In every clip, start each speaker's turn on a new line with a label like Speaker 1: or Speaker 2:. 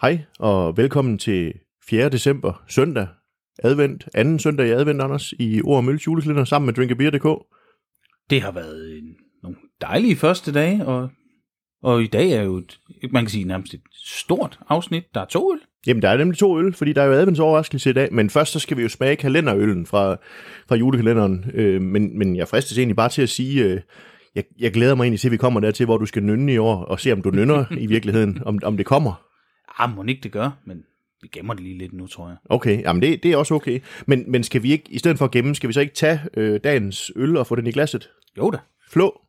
Speaker 1: Hej og velkommen til 4. december, søndag, advent, anden søndag i advent, Anders, i Ord og Mølles juleslitter sammen med drinkabeer.dk.
Speaker 2: Det har været en, nogle dejlige første dage, og, og i dag er jo, et, man kan sige, nærmest et stort afsnit. Der er to øl.
Speaker 1: Jamen, der er nemlig to øl, fordi der er jo adventsoverraskelse i dag, men først så skal vi jo smage kalenderøllen fra, fra julekalenderen. Øh, men, men jeg fristes egentlig bare til at sige, øh, jeg, jeg glæder mig egentlig til, at vi kommer dertil, hvor du skal nynne i år, og se om du nynner i virkeligheden, om, om det kommer.
Speaker 2: Ah, må ikke det gør, men vi gemmer det lige lidt nu, tror jeg.
Speaker 1: Okay, jamen det, det er også okay. Men, men skal vi ikke, i stedet for at gemme, skal vi så ikke tage øh, dagens øl og få den i glasset?
Speaker 2: Jo da.
Speaker 1: Flå?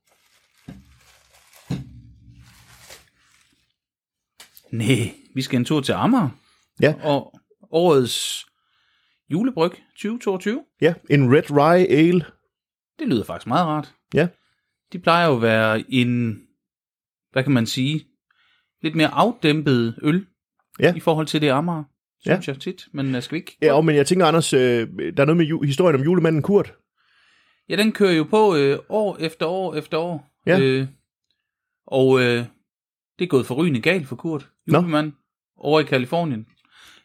Speaker 2: Nej, vi skal en tur til Amager.
Speaker 1: Ja.
Speaker 2: Og årets julebryg 2022,
Speaker 1: Ja, en Red Rye Ale.
Speaker 2: det lyder faktisk meget rart.
Speaker 1: Ja.
Speaker 2: De plejer jo at være en, hvad kan man sige, lidt mere afdæmpet øl
Speaker 1: Ja.
Speaker 2: i forhold til det Amager, synes ja. jeg tit. Men øh, skal vi ikke
Speaker 1: Ja, og men jeg tænker, Anders, øh, der er noget med ju- historien om julemanden Kurt.
Speaker 2: Ja, den kører jo på øh, år efter år efter år.
Speaker 1: Ja.
Speaker 2: Øh, og øh, det er gået forrygende galt for Kurt. Julemand over i Kalifornien.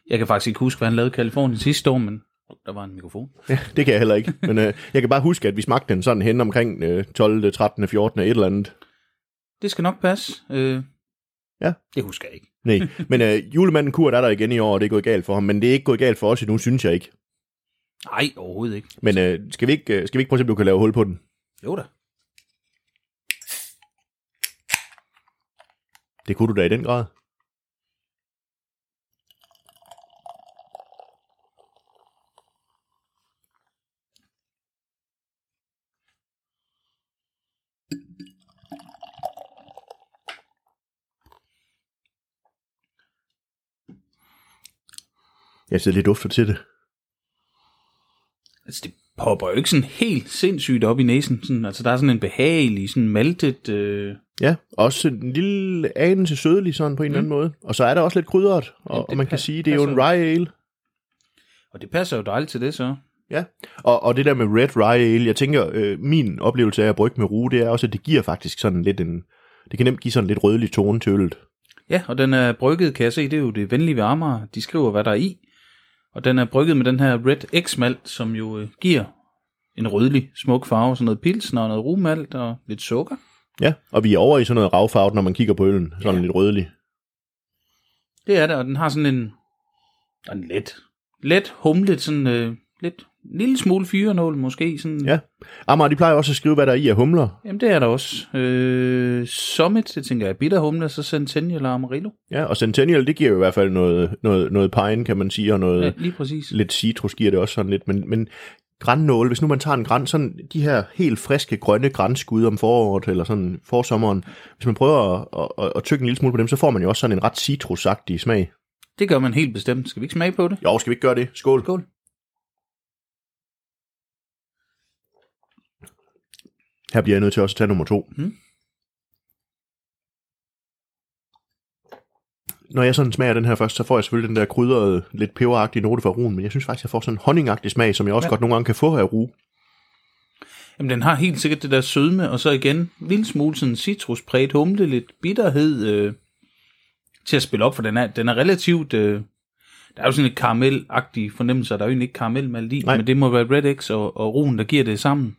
Speaker 2: Jeg kan faktisk ikke huske, hvad han lavede i Kalifornien sidste år, men oh, der var en mikrofon.
Speaker 1: Ja, det kan jeg heller ikke. Men øh, jeg kan bare huske, at vi smagte den sådan hen omkring øh, 12., 13., 14. et eller andet.
Speaker 2: Det skal nok passe. Øh,
Speaker 1: Ja.
Speaker 2: Det husker jeg ikke.
Speaker 1: Nej, men øh, julemanden Kurt er der igen i år, og det er gået galt for ham. Men det er ikke gået galt for os endnu, synes jeg ikke.
Speaker 2: Nej, overhovedet ikke.
Speaker 1: Men øh, skal, vi ikke, øh, skal vi ikke prøve at se, om du kan lave hul på den?
Speaker 2: Jo da.
Speaker 1: Det kunne du da i den grad. Jeg sidder lidt dufter til det.
Speaker 2: Altså, det popper jo ikke sådan helt sindssygt op i næsen. Sådan, altså, der er sådan en behagelig, sådan maltet... Øh,
Speaker 1: Ja, også en lille anelse sødlig sådan på en mm. eller anden måde. Og så er der også lidt krydret, og,
Speaker 2: Jamen,
Speaker 1: og
Speaker 2: det
Speaker 1: man kan
Speaker 2: pa-
Speaker 1: sige, det er jo en
Speaker 2: passer
Speaker 1: rye ale.
Speaker 2: og det passer jo dejligt til det, så.
Speaker 1: Ja, og, og det der med Red Rye Ale, jeg tænker, øh, min oplevelse af at brygge med rue, det er også, at det giver faktisk sådan lidt en, det kan nemt give sådan lidt rødlig tone til øllet.
Speaker 2: Ja, og den er brygget, kan jeg se, det er jo det venlige ved Amager. De skriver, hvad der er i. Og den er brygget med den her Red x malt som jo øh, giver en rødlig, smuk farve. Sådan noget pilsner og noget rumalt og lidt sukker.
Speaker 1: Ja, og vi er over i sådan noget ravfarvet, når man kigger på øllen, sådan ja. lidt rødlig.
Speaker 2: Det er det, og den har sådan en, og en let, let humlet, sådan øh, lidt, en lille smule fyrenål måske. Sådan.
Speaker 1: Ja. Amager, de plejer også at skrive, hvad der er i af humler.
Speaker 2: Jamen det er der også. Øh, Summit, det tænker jeg, er bitterhumle, og så Centennial og Amarillo.
Speaker 1: Ja, og Centennial, det giver jo i hvert fald noget, noget, noget pine, kan man sige, og noget
Speaker 2: Ja,
Speaker 1: ja.
Speaker 2: lige præcis.
Speaker 1: lidt citrus giver det også sådan lidt, men, men grænnåle, hvis nu man tager en græn, sådan de her helt friske grønne grænskud om foråret, eller sådan forsommeren, hvis man prøver at, at, at, at tykke en lille smule på dem, så får man jo også sådan en ret citrusagtig smag.
Speaker 2: Det gør man helt bestemt. Skal vi ikke smage på det?
Speaker 1: Jo, skal vi ikke gøre det? Skål.
Speaker 2: Skål.
Speaker 1: Her bliver jeg nødt til også at tage nummer to.
Speaker 2: Mm.
Speaker 1: Når jeg sådan smager den her først, så får jeg selvfølgelig den der krydrede, lidt peberagtige note fra ruen, men jeg synes faktisk, jeg får sådan en honningagtig smag, som jeg også ja.
Speaker 2: Ja.
Speaker 1: godt nogle gange kan få af rue.
Speaker 2: Jamen, den har helt sikkert det der sødme, og så igen, en lille smule sådan citruspræget humle, lidt bitterhed øh, til at spille op, for den er, den er relativt... Øh, der er jo sådan et karamelagtig fornemmelse, og der er jo egentlig ikke karamel med i,
Speaker 1: Nej.
Speaker 2: men det må være Red X og, og Ruen, der giver det sammen.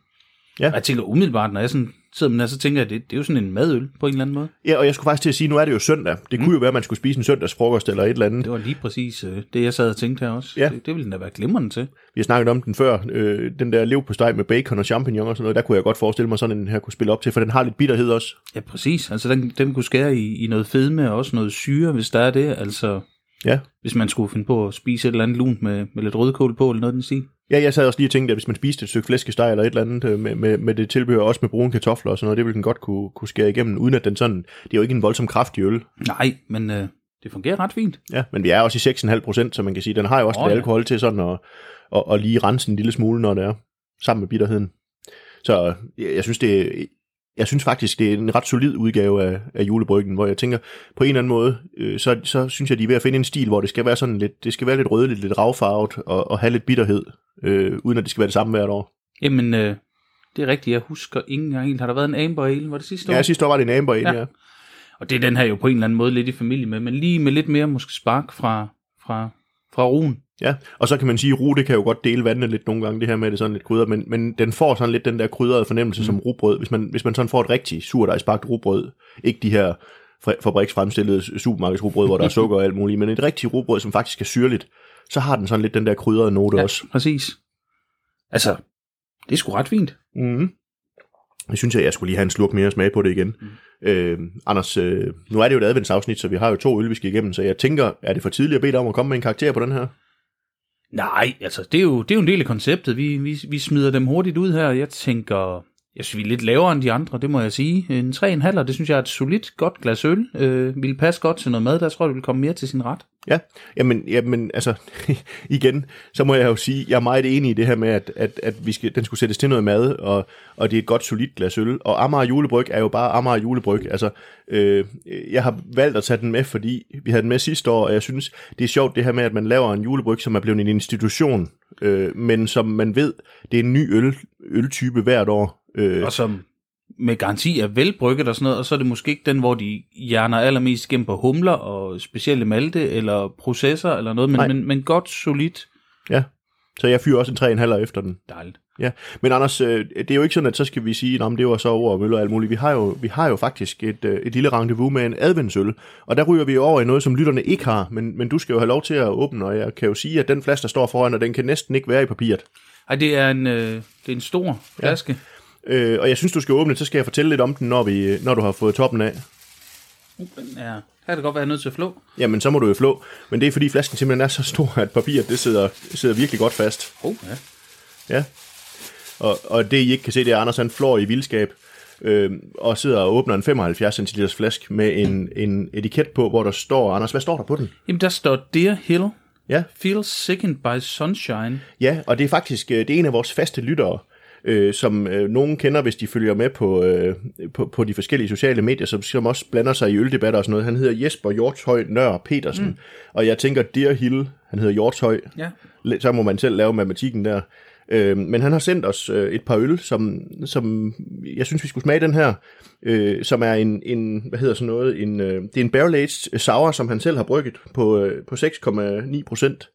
Speaker 1: Ja.
Speaker 2: Og jeg tænker umiddelbart, når jeg sådan sidder med den her, så tænker jeg, det, det er jo sådan en madøl på en eller anden måde.
Speaker 1: Ja, og jeg skulle faktisk til at sige, nu er det jo søndag. Det kunne jo være, at man skulle spise en søndagsfrokost eller et eller andet.
Speaker 2: Det var lige præcis øh, det, jeg sad og tænkte her også.
Speaker 1: Ja.
Speaker 2: Det, det ville den da være glimrende til.
Speaker 1: Vi har snakket om den før, øh, den der levpostej med bacon og champignon og sådan noget, der kunne jeg godt forestille mig sådan en her kunne spille op til, for den har lidt bitterhed også.
Speaker 2: Ja, præcis. Altså, den, den kunne skære i, i noget fedme og også noget syre, hvis der er det. Altså,
Speaker 1: Ja.
Speaker 2: hvis man skulle finde på at spise et eller andet lunt med, med lidt rødkål på, eller noget den stil.
Speaker 1: Ja, jeg sad også lige og tænkte, at hvis man spiste et stykke flæskesteg eller et eller andet øh, med, med, med det tilbehør, også med brune kartofler og sådan noget, det ville den godt kunne, kunne skære igennem, uden at den sådan, det er jo ikke en voldsom kraftig øl.
Speaker 2: Nej, men øh, det fungerer ret fint.
Speaker 1: Ja, men vi er også i 6,5 procent, så man kan sige, den har jo også
Speaker 2: Åh,
Speaker 1: oh, lidt
Speaker 2: ja.
Speaker 1: alkohol til sådan at, at, at lige rense en lille smule, når det er, sammen med bitterheden. Så øh, jeg, jeg synes, det er, jeg synes faktisk, det er en ret solid udgave af, af julebryggen, hvor jeg tænker, på en eller anden måde, øh, så, så synes jeg, de er ved at finde en stil, hvor det skal være sådan lidt, det skal være lidt rødligt, lidt ravfarvet, og, og have lidt bitterhed, øh, uden at det skal være det samme hvert år.
Speaker 2: Jamen, øh, det er rigtigt. Jeg husker ikke engang helt. Har der været en Amber Ale? Var det sidste år?
Speaker 1: Ja, sidste år var det en amber en, ja.
Speaker 2: Ja.
Speaker 1: ja.
Speaker 2: Og det er den her jo på en eller anden måde lidt i familie med, men lige med lidt mere måske spark fra, fra, fra roen.
Speaker 1: Ja, og så kan man sige, at rute kan jo godt dele vandene lidt nogle gange, det her med, at det er sådan lidt krydret, men, men den får sådan lidt den der krydrede fornemmelse mm. som rugbrød, hvis man, hvis man sådan får et rigtig surdejsbagt rugbrød, ikke de her fra- fabriksfremstillede supermarkedsrugbrød, hvor der er sukker og alt muligt, men et rigtigt rugbrød, som faktisk er syrligt, så har den sådan lidt den der krydrede note ja. også.
Speaker 2: præcis. Altså, det er sgu ret fint.
Speaker 1: Mm. Jeg synes, at jeg skulle lige have en slurk mere og smage på det igen. Mm. Øh, Anders, øh, nu er det jo et adventsafsnit, så vi har jo to øl, vi skal igennem, så jeg tænker, er det for tidligt at bede dig om at komme med en karakter på den her?
Speaker 2: Nej, altså, det er jo, det er jo en del af konceptet. Vi, vi, vi smider dem hurtigt ud her. Jeg tænker, jeg synes, vi er lidt lavere end de andre, det må jeg sige. En 3,5, det synes jeg er et solidt, godt glas øl. Øh, ville passe godt til noget mad, der tror jeg, det vil komme mere til sin ret.
Speaker 1: Ja, jamen, jamen altså, igen, så må jeg jo sige, jeg er meget enig i det her med, at, at, at vi skal, den skulle sættes til noget mad, og, og det er et godt, solidt glas øl. Og Amager julebryg er jo bare Amager julebryg. Altså, øh, jeg har valgt at tage den med, fordi vi havde den med sidste år, og jeg synes, det er sjovt det her med, at man laver en julebryg, som er blevet en institution, øh, men som man ved, det er en ny øl, øltype hvert år. Øh,
Speaker 2: Og som med garanti er velbrygget og sådan noget, og så er det måske ikke den, hvor de hjerner allermest gennem på humler og specielle malte eller processer eller noget, men,
Speaker 1: Nej.
Speaker 2: men, men godt, solidt,
Speaker 1: ja, så jeg fyrer også en 3,5 efter den.
Speaker 2: dejligt.
Speaker 1: Ja, men Anders, øh, det er jo ikke sådan, at så skal vi sige, at det var så over og møller og alt muligt. Vi har jo, vi har jo faktisk et, øh, et lille rendezvous med en adventsøl, og der ryger vi over i noget, som lytterne ikke har, men, men du skal jo have lov til at åbne, og jeg kan jo sige, at den flaske, der står foran, og den kan næsten ikke være i papiret.
Speaker 2: Ej, det er en, øh, det er en stor flaske.
Speaker 1: Øh, og jeg synes, du skal åbne, så skal jeg fortælle lidt om den, når, vi, øh, når du har fået toppen af.
Speaker 2: Uh, den er, her kan det godt være, jeg er nødt til at flå.
Speaker 1: Jamen, så må du jo flå, men det er fordi flasken simpelthen er så stor, at papiret det sidder, sidder virkelig godt fast.
Speaker 2: Oh, ja.
Speaker 1: Ja. Og, og det, I ikke kan se, det er, at Anders han flår i vildskab øh, og sidder og åbner en 75 cm flaske med en, en etiket på, hvor der står, Anders, hvad står der på den?
Speaker 2: Jamen, der står Dear Hill,
Speaker 1: Ja,
Speaker 2: feels sickened by sunshine.
Speaker 1: ja og det er faktisk øh, det er en af vores faste lyttere, øh, som øh, nogen kender, hvis de følger med på, øh, på, på de forskellige sociale medier, som, som også blander sig i øldebatter og sådan noget. Han hedder Jesper Hjortshøj Nør Petersen, mm. og jeg tænker, Dear Hill, han hedder Hjortshøj,
Speaker 2: Ja.
Speaker 1: Lidt- så må man selv lave matematikken der. Øh, men han har sendt os øh, et par øl, som, som jeg synes, vi skulle smage den her, øh, som er en, en, hvad hedder sådan noget, en, øh, det er en barrel aged sour, som han selv har brygget på, øh, på 6,9 procent.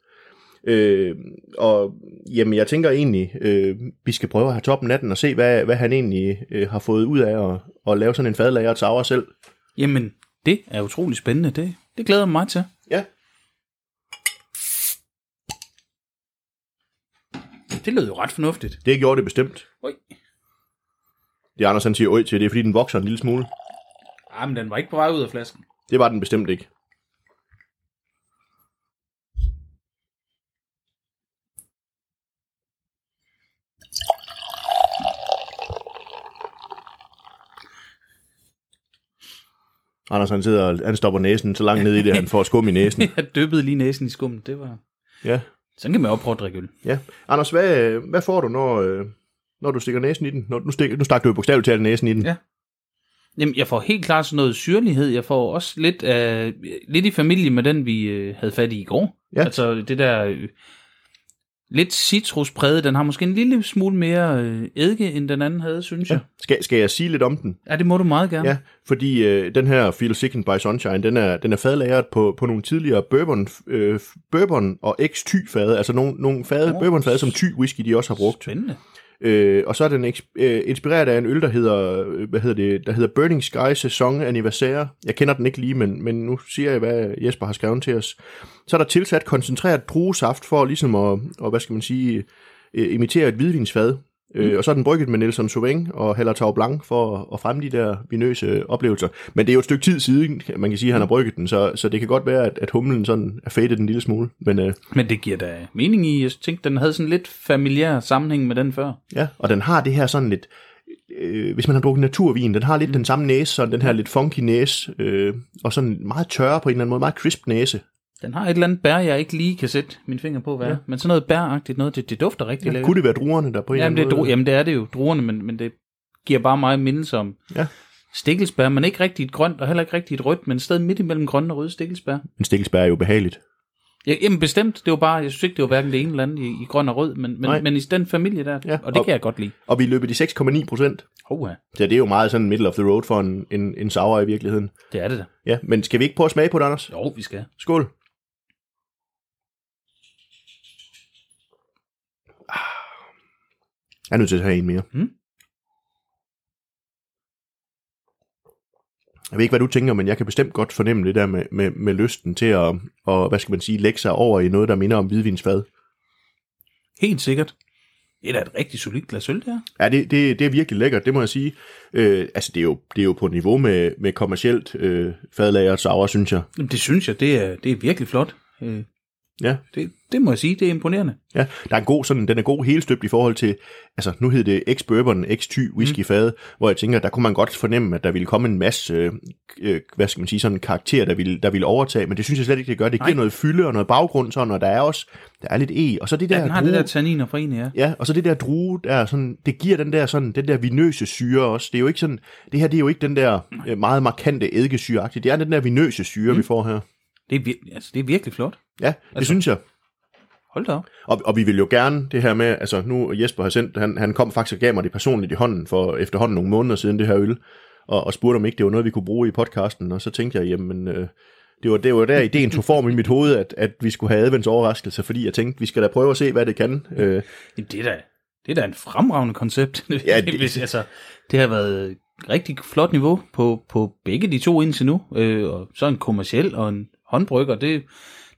Speaker 1: Øh, og jamen, jeg tænker egentlig, øh, vi skal prøve at have toppen af den og se, hvad, hvad han egentlig øh, har fået ud af at, at lave sådan en fadlager og et sour selv.
Speaker 2: Jamen, det er utrolig spændende. Det, det glæder jeg mig til.
Speaker 1: Ja,
Speaker 2: Det lød jo ret fornuftigt.
Speaker 1: det gjorde det bestemt.
Speaker 2: Oj.
Speaker 1: Det er Anders, han siger øj til, det er fordi, den vokser en lille smule.
Speaker 2: Ah, men den var ikke på vej ud af flasken.
Speaker 1: Det var den bestemt ikke. Anders han sidder og han stopper næsen så langt ned i det, han får skum i næsen.
Speaker 2: jeg dyppede lige næsen i skummen. Det var...
Speaker 1: Ja,
Speaker 2: Sådan kan man jo prøve at drikke øl.
Speaker 1: ja. Anders, hvad, øh, hvad får du, når, øh, når du stikker næsen i den? Når, nu, stik, nu stak du jo bogstaveligt talt næsen i den.
Speaker 2: Ja. Jamen, jeg får helt klart sådan noget syrlighed. Jeg får også lidt, øh, lidt i familie med den, vi øh, havde fat i i går.
Speaker 1: Ja.
Speaker 2: Altså det der øh, lidt citruspræget, den har måske en lille smule mere øh, eddike, end den anden havde, synes ja. jeg.
Speaker 1: Skal, skal jeg sige lidt om den?
Speaker 2: Ja, det må du meget gerne.
Speaker 1: Ja, fordi øh, den her Feel Sickened by Sunshine, den er, den er fadlagret på, på nogle tidligere bourbon, øh, bourbon og ex-ty fade, altså nogle, nogle fade,
Speaker 2: Nå.
Speaker 1: oh. bourbon fade, som ty whisky de også har brugt.
Speaker 2: Spændende.
Speaker 1: Øh, og så er den eks- øh, inspireret af en øl, der hedder, øh, hvad hedder det, der hedder Burning Sky Sæson Anniversaire. Jeg kender den ikke lige, men, men nu siger jeg, hvad Jesper har skrevet til os. Så er der tilsat koncentreret druesaft for ligesom at, og hvad skal man sige, øh, imitere et hvidvinsfad. Øh, og så er den brygget med Nelson Sauvin og Hallertau Blanc for at, at fremme de der vinøse oplevelser. Men det er jo et stykke tid siden, man kan sige, at han har brygget den, så, så det kan godt være, at, at humlen sådan er fadet en lille smule. Men øh,
Speaker 2: Men det giver da mening i. Jeg tænkte, den havde sådan lidt familiær sammenhæng med den før.
Speaker 1: Ja, og den har det her sådan lidt, øh, hvis man har drukket naturvin, den har
Speaker 2: Mm.
Speaker 1: lidt den samme næse, sådan den her lidt funky næse, øh, og sådan meget tørre på en eller anden måde, meget crisp næse.
Speaker 2: Den har et eller andet bær, jeg ikke lige kan sætte min finger på, hvad ja. er. Men sådan noget bæragtigt noget, det, det dufter rigtig lækkert.
Speaker 1: Kunne det være druerne, der på en
Speaker 2: Jamen
Speaker 1: eller anden
Speaker 2: det, er dro-
Speaker 1: måde?
Speaker 2: jamen, det er det jo, druerne, men, men det giver bare mig mindelse om
Speaker 1: Ja.
Speaker 2: stikkelsbær, men ikke rigtig et grønt, og heller ikke rigtig et rødt, men et sted midt imellem grønne og røde stikkelsbær.
Speaker 1: En stikkelsbær er jo behageligt.
Speaker 2: Ja, jamen bestemt, det var bare, jeg synes ikke, det var hverken det ene eller andet i, i grøn og rød, men,
Speaker 1: Nej.
Speaker 2: men, men i den familie der,
Speaker 1: Ja,
Speaker 2: ja, og det
Speaker 1: og-
Speaker 2: kan jeg godt lide.
Speaker 1: Og vi løb i de 6,9 procent.
Speaker 2: Oha,
Speaker 1: Så det er jo meget sådan middle of the road for en, en, en sauer i virkeligheden.
Speaker 2: det er det da.
Speaker 1: Ja, men skal vi ikke prøve at smage på det, Anders?
Speaker 2: Jo, vi skal.
Speaker 1: Skål. Ah. Jeg er nødt til at have en mere.
Speaker 2: Mm.
Speaker 1: Jeg ved ikke, hvad du tænker, men jeg kan bestemt godt fornemme det der med, med, med lysten til at, og, hvad skal man sige, lægge sig over i noget, der minder om hvidvinsfad.
Speaker 2: Helt sikkert. Det er da et rigtig solidt glas øl, det her.
Speaker 1: Ja, det, det, det er virkelig lækkert, det må jeg sige. Øh, altså, det er, jo, det er jo på niveau med, med kommercielt øh, fadlager og sauer, synes jeg.
Speaker 2: Jamen, det synes jeg, det er, det er virkelig flot. Øh,
Speaker 1: Ja.
Speaker 2: Det, det må jeg sige, det er imponerende.
Speaker 1: Ja, der er en god, sådan, den er god helt støbt i forhold til, altså nu hed det ex-bourbon, ex-ty
Speaker 2: Mm.
Speaker 1: whisky fade, hvor jeg tænker, der kunne man godt fornemme, at der ville komme en masse, øh, øh, hvad skal man sige, sådan karakter, der ville, der ville overtage, men det synes jeg slet ikke, det gør. Det
Speaker 2: Nej.
Speaker 1: giver noget fylde og noget baggrund, sådan, og der er også, der er lidt e, og så det der,
Speaker 2: Ja, den har
Speaker 1: drue,
Speaker 2: det der tanniner fra en, ja.
Speaker 1: ja, og så det der drue, der er sådan, det giver den der sådan, den der vinøse syre også. Det er jo ikke sådan, det her, det er jo ikke den der øh, meget markante eddikesyre det er den der vinøse syre, mm. vi får her.
Speaker 2: Det er, vir- altså, det er virkelig flot.
Speaker 1: Ja, det altså, synes jeg.
Speaker 2: Hold da op.
Speaker 1: Og, og vi vil jo gerne det her med, altså nu Jesper har sendt, han, han kom faktisk og gav mig det personligt i hånden for efterhånden nogle måneder siden, det her øl, og, og spurgte om ikke det var noget, vi kunne bruge i podcasten, og så tænkte jeg, jamen øh, det, var, det var der ideen tog form i mit hoved, at, at vi skulle have adventsoverraskelser, fordi jeg tænkte, vi skal da prøve at se, hvad det kan. Øh,
Speaker 2: Jamen, det er da, det er da en fremragende koncept.
Speaker 1: Ja, det-
Speaker 2: Hvis, altså, det har været rigtig flot niveau på, på begge de to indtil nu. Øh, og så en kommerciel og en håndbrygger. Det,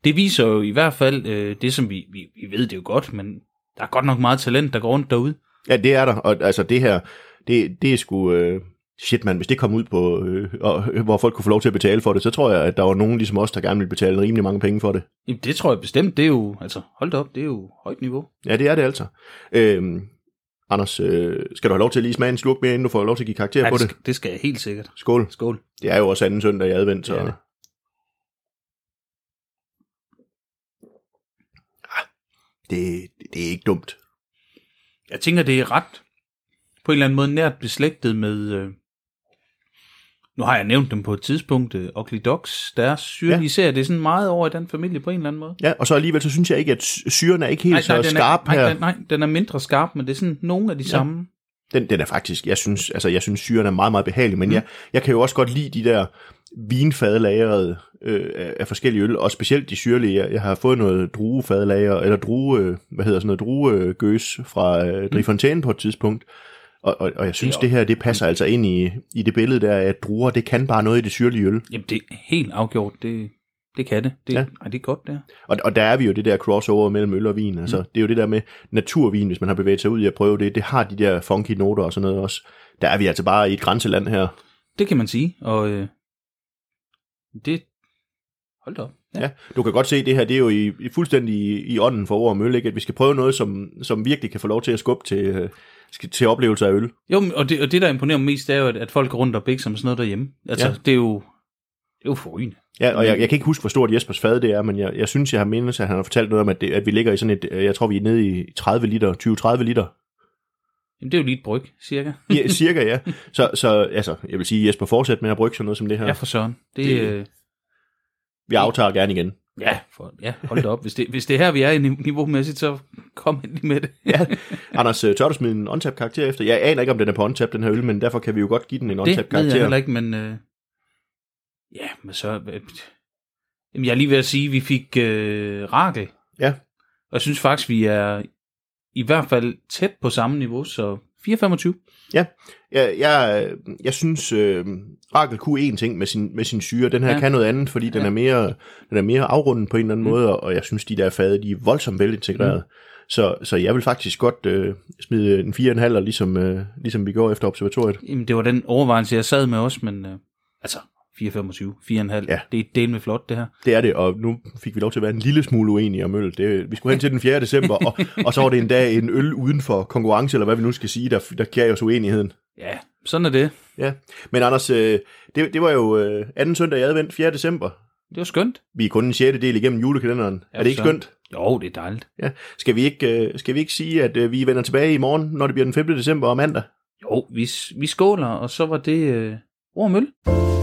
Speaker 2: det viser jo i hvert fald øh, det, som vi, vi, vi ved det jo godt, men der er godt nok meget talent, der går rundt derude.
Speaker 1: ja, det er der, og altså det her, det, det er sgu... Øh, Shit, mand, hvis det kom ud på, øh, og, øh, hvor folk kunne få lov til at betale for det, så tror jeg, at der var nogen ligesom os, der gerne ville betale rimelig mange penge for det.
Speaker 2: Jamen, det tror jeg bestemt. Det er jo, altså, hold da op, det er jo højt niveau.
Speaker 1: Ja, det er det altså. Øhm, Anders, øh, skal du have lov til at lige smage en slurk mere, inden du får lov til at give karakter
Speaker 2: Ja,
Speaker 1: på
Speaker 2: det,
Speaker 1: det?
Speaker 2: skal, det skal jeg helt sikkert.
Speaker 1: Skål.
Speaker 2: Skål.
Speaker 1: Det er jo også anden søndag i advent, så...
Speaker 2: Det er det.
Speaker 1: Ah, Det, det er ikke dumt.
Speaker 2: Jeg tænker, det er ret på en eller anden måde nært beslægtet med... Øh, nu har jeg nævnt dem på et tidspunkt, øh, Ugly Dogs, deres syrlige ja. serie, det er sådan meget over i den familie på en eller anden måde.
Speaker 1: Ja, og så alligevel, så synes jeg ikke, at sy- syren er ikke helt så
Speaker 2: den
Speaker 1: skarp
Speaker 2: er, nej,
Speaker 1: her.
Speaker 2: den, nej, den er mindre skarp, men det er sådan nogle af de ja. samme.
Speaker 1: Den, den er faktisk, jeg synes, altså jeg synes syren er meget, meget behagelig, men mm. jeg, jeg kan jo også godt lide de der vinfadlagrede øh, af af forskellige øl, og specielt de syrlige. Jeg, jeg har fået noget druefadlager, eller drue, øh, hvad hedder sådan noget, druegøs fra øh, Drifontaine på et tidspunkt, og, og, og jeg synes,
Speaker 2: er
Speaker 1: det her, det passer altså ind i, i det billede der, at druer, det kan bare noget i det syrlige øl.
Speaker 2: Jamen, det er helt afgjort, det, det kan det. det
Speaker 1: Ja.
Speaker 2: ja. Ej, det er godt, det her.
Speaker 1: Og, og der er vi jo det der crossover mellem øl og vin. Altså, mm. Det er jo det der med naturvin, hvis man har bevæget sig ud i at prøve det. Det har de der funky noter og sådan noget også. Der er vi altså bare i et grænseland her.
Speaker 2: Det kan man sige, og øh, det... Hold da op. Ja.
Speaker 1: Ja, du kan godt se, at det her det er jo i, i fuldstændig i, i ånden for ord og møl, ikke? at vi skal prøve noget, som, som virkelig kan få lov til at skubbe til, øh, sk- til oplevelser af øl.
Speaker 2: Jo, men- og det, og det, der imponerer mig mest, det er jo, at, at folk går rundt og bækker som sådan noget derhjemme. Altså,
Speaker 1: Ja.
Speaker 2: ja. det er jo... Det er jo forrygende.
Speaker 1: Ja, og jeg, jeg kan ikke huske, hvor stort Jespers fad det er, men jeg, jeg synes, jeg har mindes, at han har fortalt noget om, at, det, at vi ligger i sådan et, øh, jeg tror, vi er nede i 30 liter, 20-30 liter
Speaker 2: Jamen, det er jo lige et bryg, cirka.
Speaker 1: ja, cirka, ja. Så, så altså, jeg vil sige, Jesper, fortsæt med at brygge sådan noget som det her.
Speaker 2: Ja, ja for søren. Det,
Speaker 1: Det-
Speaker 2: det, øh,
Speaker 1: Vi aftager gerne igen.
Speaker 2: ja, for, ja, hold da op. Hvis det, hvis det er her, vi er i niveau- niveaumæssigt, så kom ind lige med det.
Speaker 1: Ja. Anders, øh, tør du smide en on karakter efter? Jeg aner ikke, om den er på on den her øl, men derfor kan vi jo godt give den en on
Speaker 2: det ved jeg
Speaker 1: karakter
Speaker 2: heller ikke, men... Øh, ja, men så... Øh, jamen, jeg er lige ved at sige, at vi fik øh, Rakel.
Speaker 1: Ja.
Speaker 2: Og jeg synes faktisk, vi er i hvert fald tæt på samme niveau, så 4,25.
Speaker 1: jeg, jeg, jeg synes, øh, Rakel kunne én ting med sin, med sin syre. Den her ja.
Speaker 2: Ja.
Speaker 1: kan noget andet, fordi den,
Speaker 2: Ja.
Speaker 1: er mere, den er mere afrundet på en eller anden mm. måde, og jeg synes, de der fade, de er voldsomt velintegreret. Mm. Så, så jeg vil faktisk godt øh, smide en 4,5, ligesom, øh, ligesom vi går efter observatoriet.
Speaker 2: Jamen, det var den overvejelse, jeg sad med også, men... Øh, altså, 4,25, 4,5.
Speaker 1: Ja.
Speaker 2: Ja. Det er del med flot, det her.
Speaker 1: Det er det, og nu fik vi lov til at være en lille smule uenige om øl. Det, vi skulle hen til den 4. december, og, og så var det en dag en øl uden for konkurrence, eller hvad vi nu skal sige, der, der gav os uenigheden.
Speaker 2: Ja, sådan er det.
Speaker 1: Ja, men Anders, øh, det, det var jo øh, anden søndag i advent, 4. december.
Speaker 2: Det var skønt.
Speaker 1: Vi er kun en sjette del igennem julekalenderen.
Speaker 2: Ja,
Speaker 1: er det ikke
Speaker 2: for søren.
Speaker 1: skønt?
Speaker 2: Jo, det er dejligt.
Speaker 1: Ja. Skal, vi ikke, øh, skal vi ikke sige, at øh, vi vender tilbage i morgen, når det bliver den 5. december og mandag?
Speaker 2: Jo, vi, vi skåler, og så var det øh, ord og møl.